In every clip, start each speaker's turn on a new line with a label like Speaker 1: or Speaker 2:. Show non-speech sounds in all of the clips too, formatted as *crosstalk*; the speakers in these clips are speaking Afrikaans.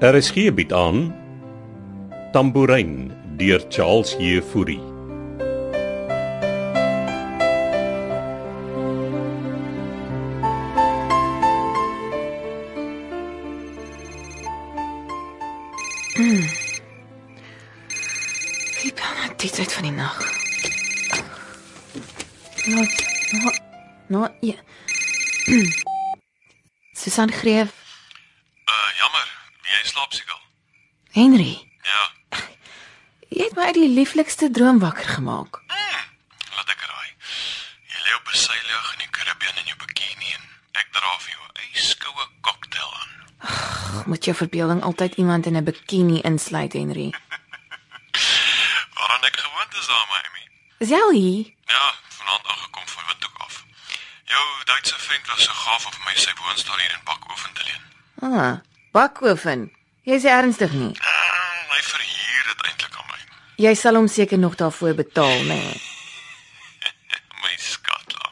Speaker 1: RSG bied Er aan Tambourin deur Charles Jefouri.
Speaker 2: Wie bel nou die tyd van die nag? Nou, nou, nou, ja. *clears throat* Susan Greef,
Speaker 3: Uh jammer, jy slaap seker.
Speaker 2: Henry,
Speaker 3: Ja,
Speaker 2: jy het my uit die lieflikste droom wakker gemaak.
Speaker 3: laat ek raai. Jy lê op 'n seilig in die Karibië in jou bikini en ek dra vir jou 'n yskoue cocktail aan.
Speaker 2: Ag, moet jou verbeelding altyd iemand in 'n bikini insluit, Henry.
Speaker 3: Waaraan ek gewoond is daar, my Amy.
Speaker 2: Is jy al hier?
Speaker 3: Ja, vanaand aangekom van Windhoek af. Jou Duitse vriend was so gaaf op my sy woonstel hier in Bakoven te leen.
Speaker 2: Ah, bakoven. Jy's ernstig nie.
Speaker 3: Uh, hy verhuur dit eintlik aan my.
Speaker 2: Jy sal hom seker nog daarvoor betaal, né? Nee.
Speaker 3: My skatla.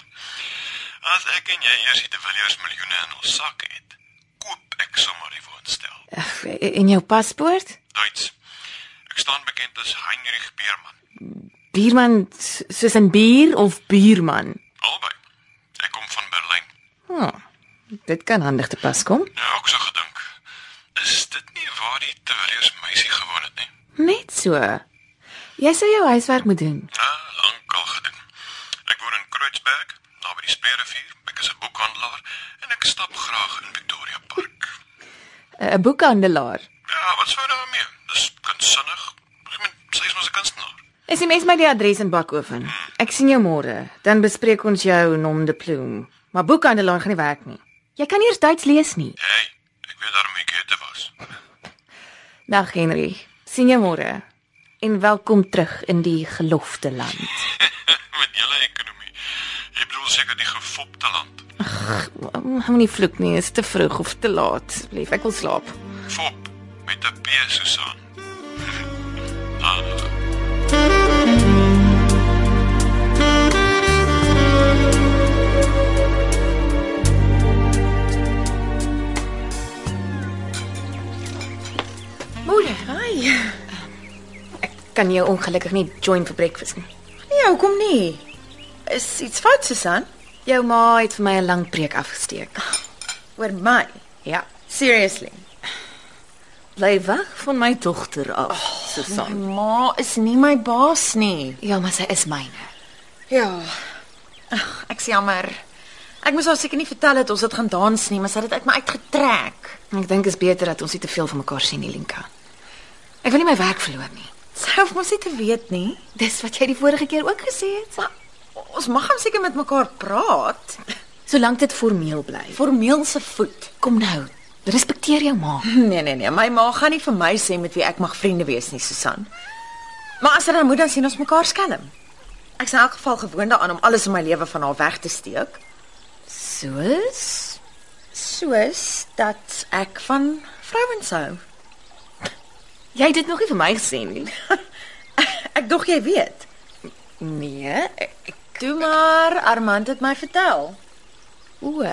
Speaker 3: As ek en jy eers die De Villiers miljoene in ons sak het, koop ek sommer die woonstel.
Speaker 2: Ag, en jou paspoort?
Speaker 3: Duits. Ek staan bekend as Heinrich Beerman.
Speaker 2: Bierman s- soos 'n bier of bierman?
Speaker 3: Albei. Ek kom van Berlyn.
Speaker 2: Oh, dit kan handig te pas kom.
Speaker 3: Ja, ek so gedink. Is dit nie waar die Tewelius meisie gewoon het nie?
Speaker 2: Net so. Jy sou jou huiswerk moet doen.
Speaker 3: Ja, lankal gedoen. Ek woon in Kreuzberg, naby die Speerrivier. Ek is 'n boekhandelaar en ek stap graag in Victoria Park.
Speaker 2: Eh, 'n Boekhandelaar.
Speaker 3: Ja, wat sou daarmee? Dis kunstsinnig. Ek meen, sy is mos 'n kunstenaar.
Speaker 2: SMS my die adres in Bakoven. Ek sien jou môre. Dan bespreek ons jou nom de plume. Maar boekhandelaar gaan nie werk nie. Jy kan nie eers Duits lees nie.
Speaker 3: Hey, ek weet daarom ek het was. *laughs*
Speaker 2: Dag Henry. Sien jou môre. En welkom terug in die gelofte land.
Speaker 3: Met julle ekonomie. Jy bedoel seker die gefopte land.
Speaker 2: Moenie vloek nie, is te vroeg of te laat. Asseblief, ek wil slaap.
Speaker 3: Fop met 'n P Susan. *laughs* Ah. Laat.
Speaker 2: Moeder, hi. Ek kan jou ongelukkig nie join vir breakfast nie.
Speaker 4: Nee, hoekom nie? Is iets fout, Susan?
Speaker 2: Jou ma het vir my 'n lang preek afgesteek.
Speaker 4: Oor my.
Speaker 2: Ja,
Speaker 4: Seriously.
Speaker 2: bly weg van my dogter af, oh, Susan.
Speaker 4: Ma is nie my baas nie.
Speaker 2: Ja, maar sy is myne.
Speaker 4: Ja. Ag, ek's jammer. Ek moes haar seker nie vertel het ons het gaan dans nie, maar sy het dit uit my uitgetrek.
Speaker 2: Ek dink dit is beter dat ons nie te veel van mekaar sien nie, Linka. Ek wil nie my werk verloor nie.
Speaker 4: Sy hoef mos nie te weet nie.
Speaker 2: Dis wat jy die vorige keer ook gesê het.
Speaker 4: Maar ons mag hom seker met mekaar praat.
Speaker 2: Solank dit formeel bly.
Speaker 4: Formeel se voet.
Speaker 2: Kom nou. Respekteer jou ma.
Speaker 4: Nee, nee, nee. My ma gaan nie vir my sê met wie ek mag vriende wees nie, Susan. Maar as sy dan moet dan sien ons mekaar skelm. Ek's in elk geval gewoond daaraan om alles in my lewe van haar weg te steek.
Speaker 2: Soos
Speaker 4: Soos dat ek van vrouens hou. *laughs*
Speaker 2: jy het dit nog nie vir my gesê nie.
Speaker 4: Ek dog jy weet.
Speaker 2: Nee, ek
Speaker 4: Toe maar, Armand het my vertel.
Speaker 2: o.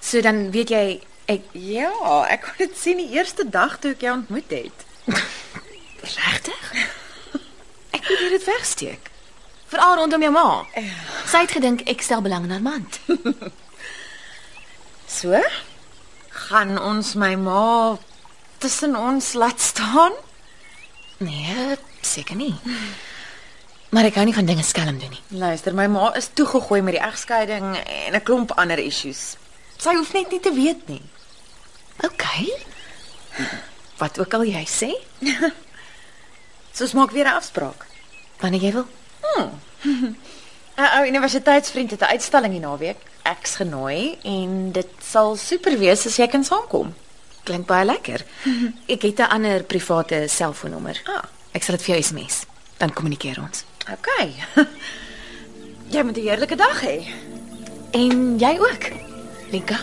Speaker 2: So dan weet jy ek
Speaker 4: Ja, ek kon dit sien die eerste dag toe ek jou ontmoet het.
Speaker 2: regtig? Ek probeer dit wegsteek. Veral rondom jou ma. Sy het gedink ek stel belang in haar man.
Speaker 4: So? Gaan ons my ma tussen ons laat staan?
Speaker 2: Nee, seker nie. Maar ek hou nie van dinge skelm doen nie.
Speaker 4: Luister, my ma is toegegooi met die egskeiding en 'n klomp ander issues. Sy hoef net nie te weet nie.
Speaker 2: OK. Wat ook al jy sê,
Speaker 4: So ons maak weer 'n afspraak.
Speaker 2: wanneer jy wil.
Speaker 4: 'n Ou universiteitsvriend het 'n uitstalling hierdie naweek. Ek's genooi en dit sal super wees as jy kan saamkom.
Speaker 2: Klink baie *laughs* lekker. Ek het 'n ander private selfoonnommer.
Speaker 4: Ah.
Speaker 2: Ek sal dit vir jou SMS. Dan kommunikeer ons.
Speaker 4: OK.
Speaker 2: *laughs*
Speaker 4: Jy moet 'n heerlike dag hê.
Speaker 2: En jy ook. Linka.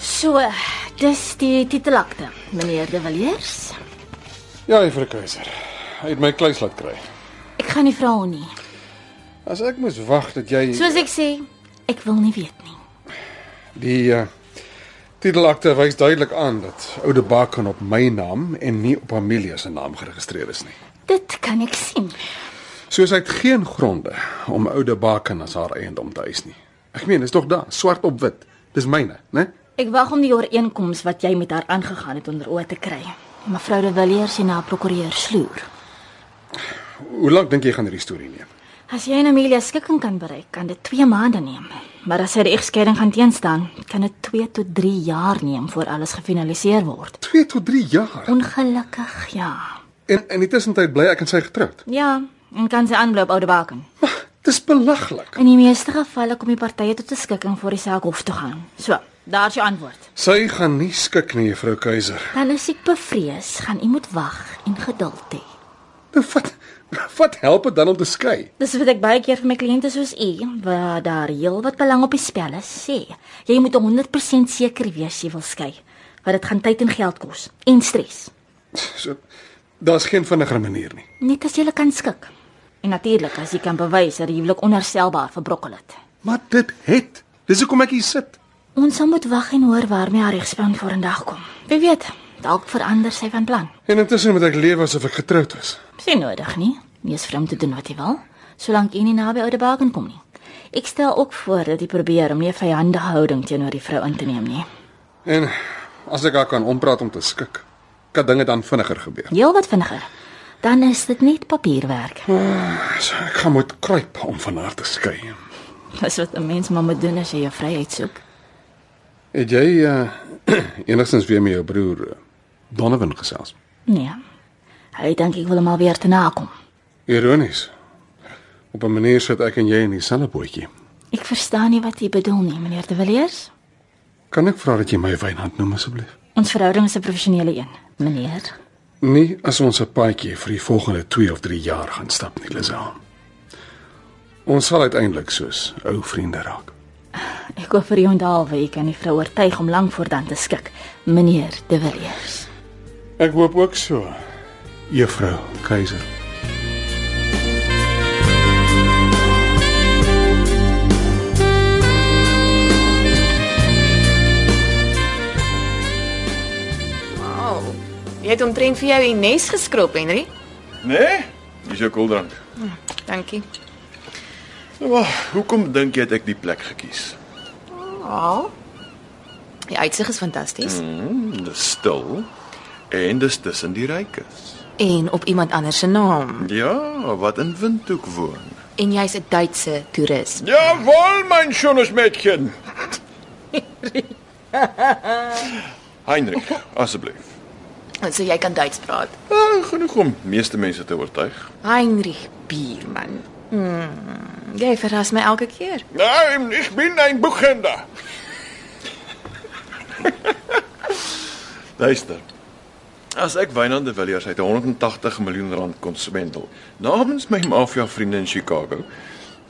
Speaker 5: So, dis die titelakte, meneer De Villiers.
Speaker 6: Ja, juffrou Keiser.
Speaker 3: Hy het my kluis laat kry.
Speaker 7: Ek gaan nie vra hom nie.
Speaker 3: As ek moes wag dat jy
Speaker 7: Soos ek sê, ek wil nie weet nie.
Speaker 3: die uh, titelakte wys duidelik aan dat oude Bakan op my naam en nie op Amelia se naam geregistreer is nie.
Speaker 7: Dit kan ek sien.
Speaker 3: Soos hy het geen gronde om oude Bakan as haar eiendom te eis nie. Ek meen, is tog daar swart op wit. Dis myne, né?
Speaker 7: Ek wag om die ooreenkoms wat jy met haar aangegaan het onder oë te kry. Mevrou de Villiers en haar prokureur sloer.
Speaker 3: Hoe lank dink jy gaan hierdie storie neem?
Speaker 7: As jy en Amelia skikking kan bereik, kan dit 2 maande neem. Maar as hy die egskeiding gaan teenstaan, kan dit 2 tot 3 jaar neem voor alles gefinaliseer word.
Speaker 3: 2 tot 3 jaar.
Speaker 7: Ongelukkig, ja.
Speaker 3: En in die tussentyd bly ek en sy getroud.
Speaker 7: Ja, en kan sy aanloop oude baken.
Speaker 3: Maar dis belaglik.
Speaker 7: In die meeste gevalle kom die partye tot 'n skikking voor die saak hof toe gaan. So, daar's jou antwoord.
Speaker 3: Sy gaan nie skik nie, mevrou Keiser.
Speaker 7: Dan is ek bevrees, gaan u moet wag en geduld hê.
Speaker 3: Nou wat wat help dit dan om te skei?
Speaker 7: Dis wat ek baie keer vir my kliënte soos u, waar daar heelwat belang op die spel is, sê. Jy moet 100% seker wees jy wil skei, want dit gaan tyd en geld kos en stres.
Speaker 3: So daar's geen vinniger manier nie.
Speaker 7: Net as jy kan skik. En natuurlik as jy kan bewys dat die huwelik onherstelbaar verbrokkel het.
Speaker 3: Maar dit het. Dis hoekom ek hier sit.
Speaker 7: Ons sal moet wag en hoor waarmee haar regspan voor 'n dag kom. Wie weet, dalk verander sy van plan.
Speaker 3: En intussen moet ek leef asof ek getroud was.
Speaker 7: Sien nodig nie. Nie is vreemd te doen wat jy wil, solank jy nie naby oude baken kom nie. Ek stel ook voor dat jy probeer om nie 'n vyandige houding teenoor die vrou in te neem nie.
Speaker 3: En as ek haar kan ompraat om te skik, kan dinge dan vinniger gebeur.
Speaker 2: Ja.
Speaker 7: Heel wat vinniger. Dan is dit net papierwerk.
Speaker 3: So ek gaan moet kruip om van haar te skei.
Speaker 7: Dis wat 'n mens maar moet doen as jy jou vryheid soek.
Speaker 3: Het jy uh, *clears throat* enigstens weer met jou broer eh, Donovan gesels?
Speaker 7: Nee. Hy dink ek wil hom alweer te nakom.
Speaker 3: Ironies. Op 'n manier sit ek en jy in dieselfde bootjie.
Speaker 7: Ek verstaan nie wat jy bedoel nie, meneer De Villiers.
Speaker 3: Kan ek vra dat jy my Wynand noem asseblief?
Speaker 7: Ons verhouding is 'n professionele een, meneer.
Speaker 3: Nee, as ons 'n paadjie vir die volgende 2 of 3 jaar gaan stap nie, Lisel. Ons sal uiteindelik soos ou vriende raak.
Speaker 7: Ek hoop vir jou onthaalwe, ek kan die vrou oortuig om lank voor dan te skik, meneer De Villiers.
Speaker 3: Ek hoop ook so. Juffrou Keiser.
Speaker 2: Wow. Oh, Jy het omtrent vir jou in nes geskrob, Henry.
Speaker 8: Nee, dis jou koeldrank.
Speaker 2: Dankie.
Speaker 8: Wel, hoekom dink jy het ek die plek gekies?
Speaker 2: Ja. Die uitsig is fantasties mm.
Speaker 8: Hmm, dis stil en dis tussen die rykes.
Speaker 2: en op iemand anders se naam.
Speaker 8: Ja, wat in Windhoek woon.
Speaker 2: En jy's 'n Duitse toerist.
Speaker 8: Jawohl, mein schönes Mädchen. Heinrich, asseblief.
Speaker 2: So jy kan Duits praat.
Speaker 8: Ah, genoeg om meeste mense te oortuig.
Speaker 2: Heinrich Bierman. Mm. Jy verras my elke keer.
Speaker 8: Nein, ich bin ein Buchhändler. *laughs* Luister. As ek Wynand de Villiers uit 180 miljoen rand kon swendel namens my mafia vriende in Chicago,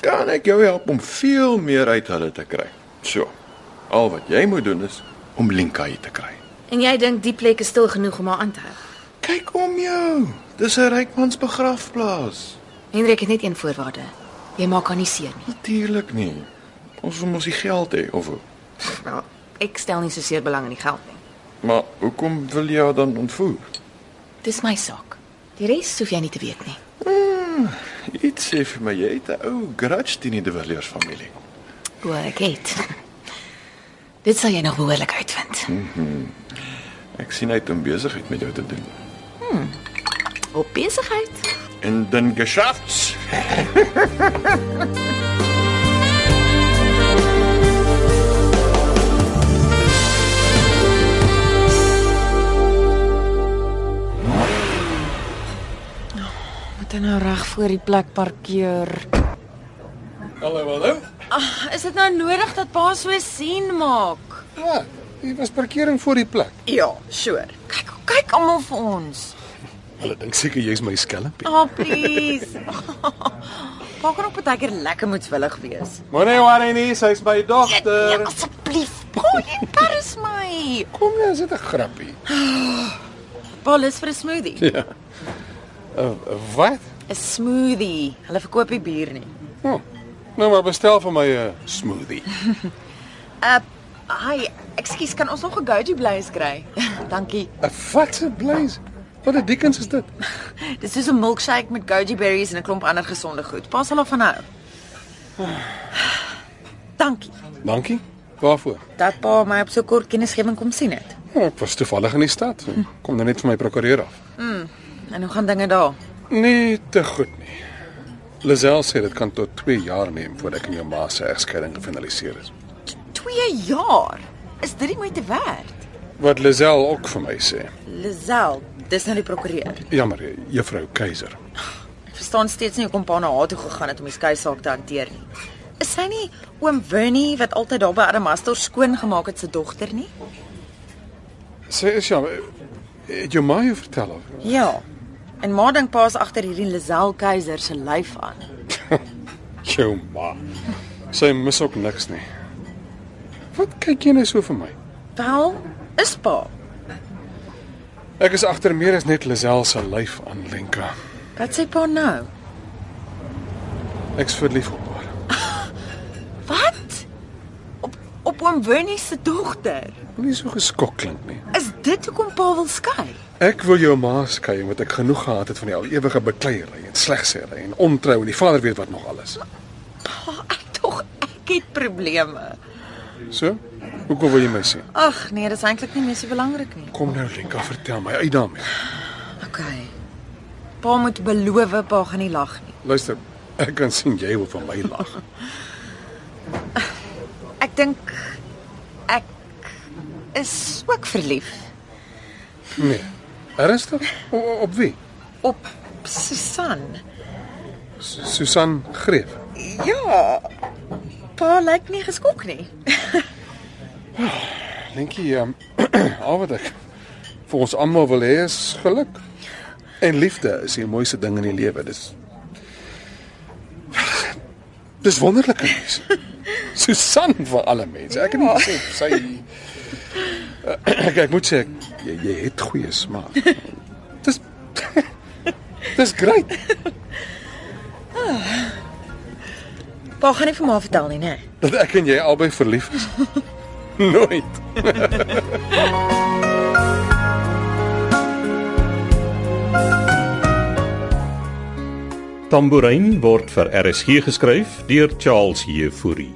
Speaker 8: kan ek jou help om veel meer uit hulle te kry. So. Al wat jy moet doen is om Linkai te kry.
Speaker 2: En jy dink die plek is stil genoeg om haar aan te hou.
Speaker 8: Kyk om jou. Dis 'n rykmans begrafplaas.
Speaker 2: Hendrik het net een voorwaarde. Jy maak haar nie seer nie.
Speaker 8: Natuurlik nie. Ons wil mos die geld hê of hoe?
Speaker 2: Nou, ek stel nie so seer belang in die geld nie.
Speaker 8: Maar hoekom wil jy haar dan ontvoer?
Speaker 2: Dis my saak. Die res hoef jy nie te weet nie.
Speaker 8: Iets sê vir my jy het 'n ou grudge teen die De Villiers familie.
Speaker 2: O, ek het. *laughs* Dit sal jy nog behoorlik uitvind.
Speaker 8: Ek sien uit om besigheid met jou te doen.
Speaker 2: Op besigheid.
Speaker 8: In den Geschäfts.
Speaker 9: Moet hy nou reg voor die plek parkeer?
Speaker 3: Hallo, hallo.
Speaker 9: Is dit nou nodig dat pa so sien maak?
Speaker 8: Ja,
Speaker 3: Wat? Hier was parkering voor die plek.
Speaker 4: Ja, sure.
Speaker 9: Kyk, kyk almal vir ons.
Speaker 3: Hulle dink seker jy's my skelmpie.
Speaker 9: Ah, oh,
Speaker 2: *laughs*
Speaker 9: please.
Speaker 4: Pa kan ook baie keer lekker moedswillig wees.
Speaker 3: Moenie worry nie, sy's my dogter.
Speaker 8: Ja,
Speaker 9: Asseblief, pa, jy embarrass my.
Speaker 3: Kom nou, is dit 'n grappie?
Speaker 9: Pa lus vir 'n smoothie.
Speaker 3: Ja. Uh, wat?
Speaker 2: 'n Smoothie. Hulle verkoop nie bier nie.
Speaker 3: Oh, nou maar bestel vir my 'n smoothie.
Speaker 2: Uh hi, ekskuus, kan ons nog 'n go-to blaze kry? *laughs* Dankie.
Speaker 3: 'n Watse blaze. Wat 'n dikkens is dit?
Speaker 2: Dis soos 'n milkshake met goji berries en 'n klomp ander gesonde goed. Pas sal daarvan hou. Dankie.
Speaker 3: Dankie. Waarvoor?
Speaker 2: Dat pa my op so kort kennisgewing kom sien het.
Speaker 3: Ja, ek was toevallig in die stad. Kom dan net vir my prokureur af.
Speaker 2: En hoe gaan dinge daar?
Speaker 3: Nee, te goed nie. Lazel sê dit kan tot 2 jaar neem voordat ek en jou ma se egskeiding gefinaliseer is.
Speaker 2: 2 jaar. Is dit die moeite werd?
Speaker 3: Wat Lazel ook vir my sê.
Speaker 2: Lazel, dis nou die prokureur.
Speaker 3: Jammer, eh, juffrou Keiser.
Speaker 2: Ek verstaan steeds nie hoekom pa na haar toe gegaan het om die skei saak te hanteer nie. Is sy nie oom Winnie wat altyd daar by Adamastor skoon gemaak het se dogter nie?
Speaker 3: Sê is ja, het jou ma jou vertel of?
Speaker 2: Ja. En ma dink pa's agter hierdie Lazel Keiser se lyf aan.
Speaker 3: Jou ma. Sy mis ook niks nie. Wat kyk jy nou so vir my?
Speaker 2: Wel, is pa.
Speaker 3: Ek is agter meer as net Lazel se lyf aan Lenka.
Speaker 2: Wat sê pa nou?
Speaker 3: Ek's verlief op haar.
Speaker 2: Wat? Op op oom Winnie se dogter.
Speaker 3: Moenie so geskok klink nie.
Speaker 2: Is dit hoekom pa wil skei?
Speaker 3: Ek wil jou ma skei omdat ek genoeg gehad het van die al ewige bekleierery en slegsêry en ontrou en die vader weet wat nog alles.
Speaker 2: Pa, ek tog ek het probleme.
Speaker 3: So? Hoekom wil jy my sien?
Speaker 2: Ag nee, dis eintlik nie meer so belangrik nie.
Speaker 3: Kom nou Lenka, vertel my uit daarmee.
Speaker 2: OK. Pa moet beloof pa gaan nie lag nie.
Speaker 3: Luister, ek kan sien jy wil van my lag.
Speaker 2: Ek dink ek is ook verlief
Speaker 3: Nee. Ernstig? O, o, op wie?
Speaker 2: op Susan.
Speaker 3: Su- Susan Greef.
Speaker 2: Ja. Pa lyk nie geskok nie.
Speaker 3: Lenkie, *clears throat* um, al wat ek vir ons almal wil hê is geluk. En liefde is die mooiste ding in die lewe. Dis Dis wonderlike mens. Susan vir alle mense. Ek het nie gesê sy Eh, *clears throat* ek, ek moet sê ek, jy, jy het goeie smaak. Dis *laughs* Dis great.
Speaker 2: Pa gaan nie vir ma vertel nie, né? Nee.
Speaker 3: dat ek en jy albei verlief is. Nooit.
Speaker 10: Tambourin word vir RSG geskryf deur Charles Heffury.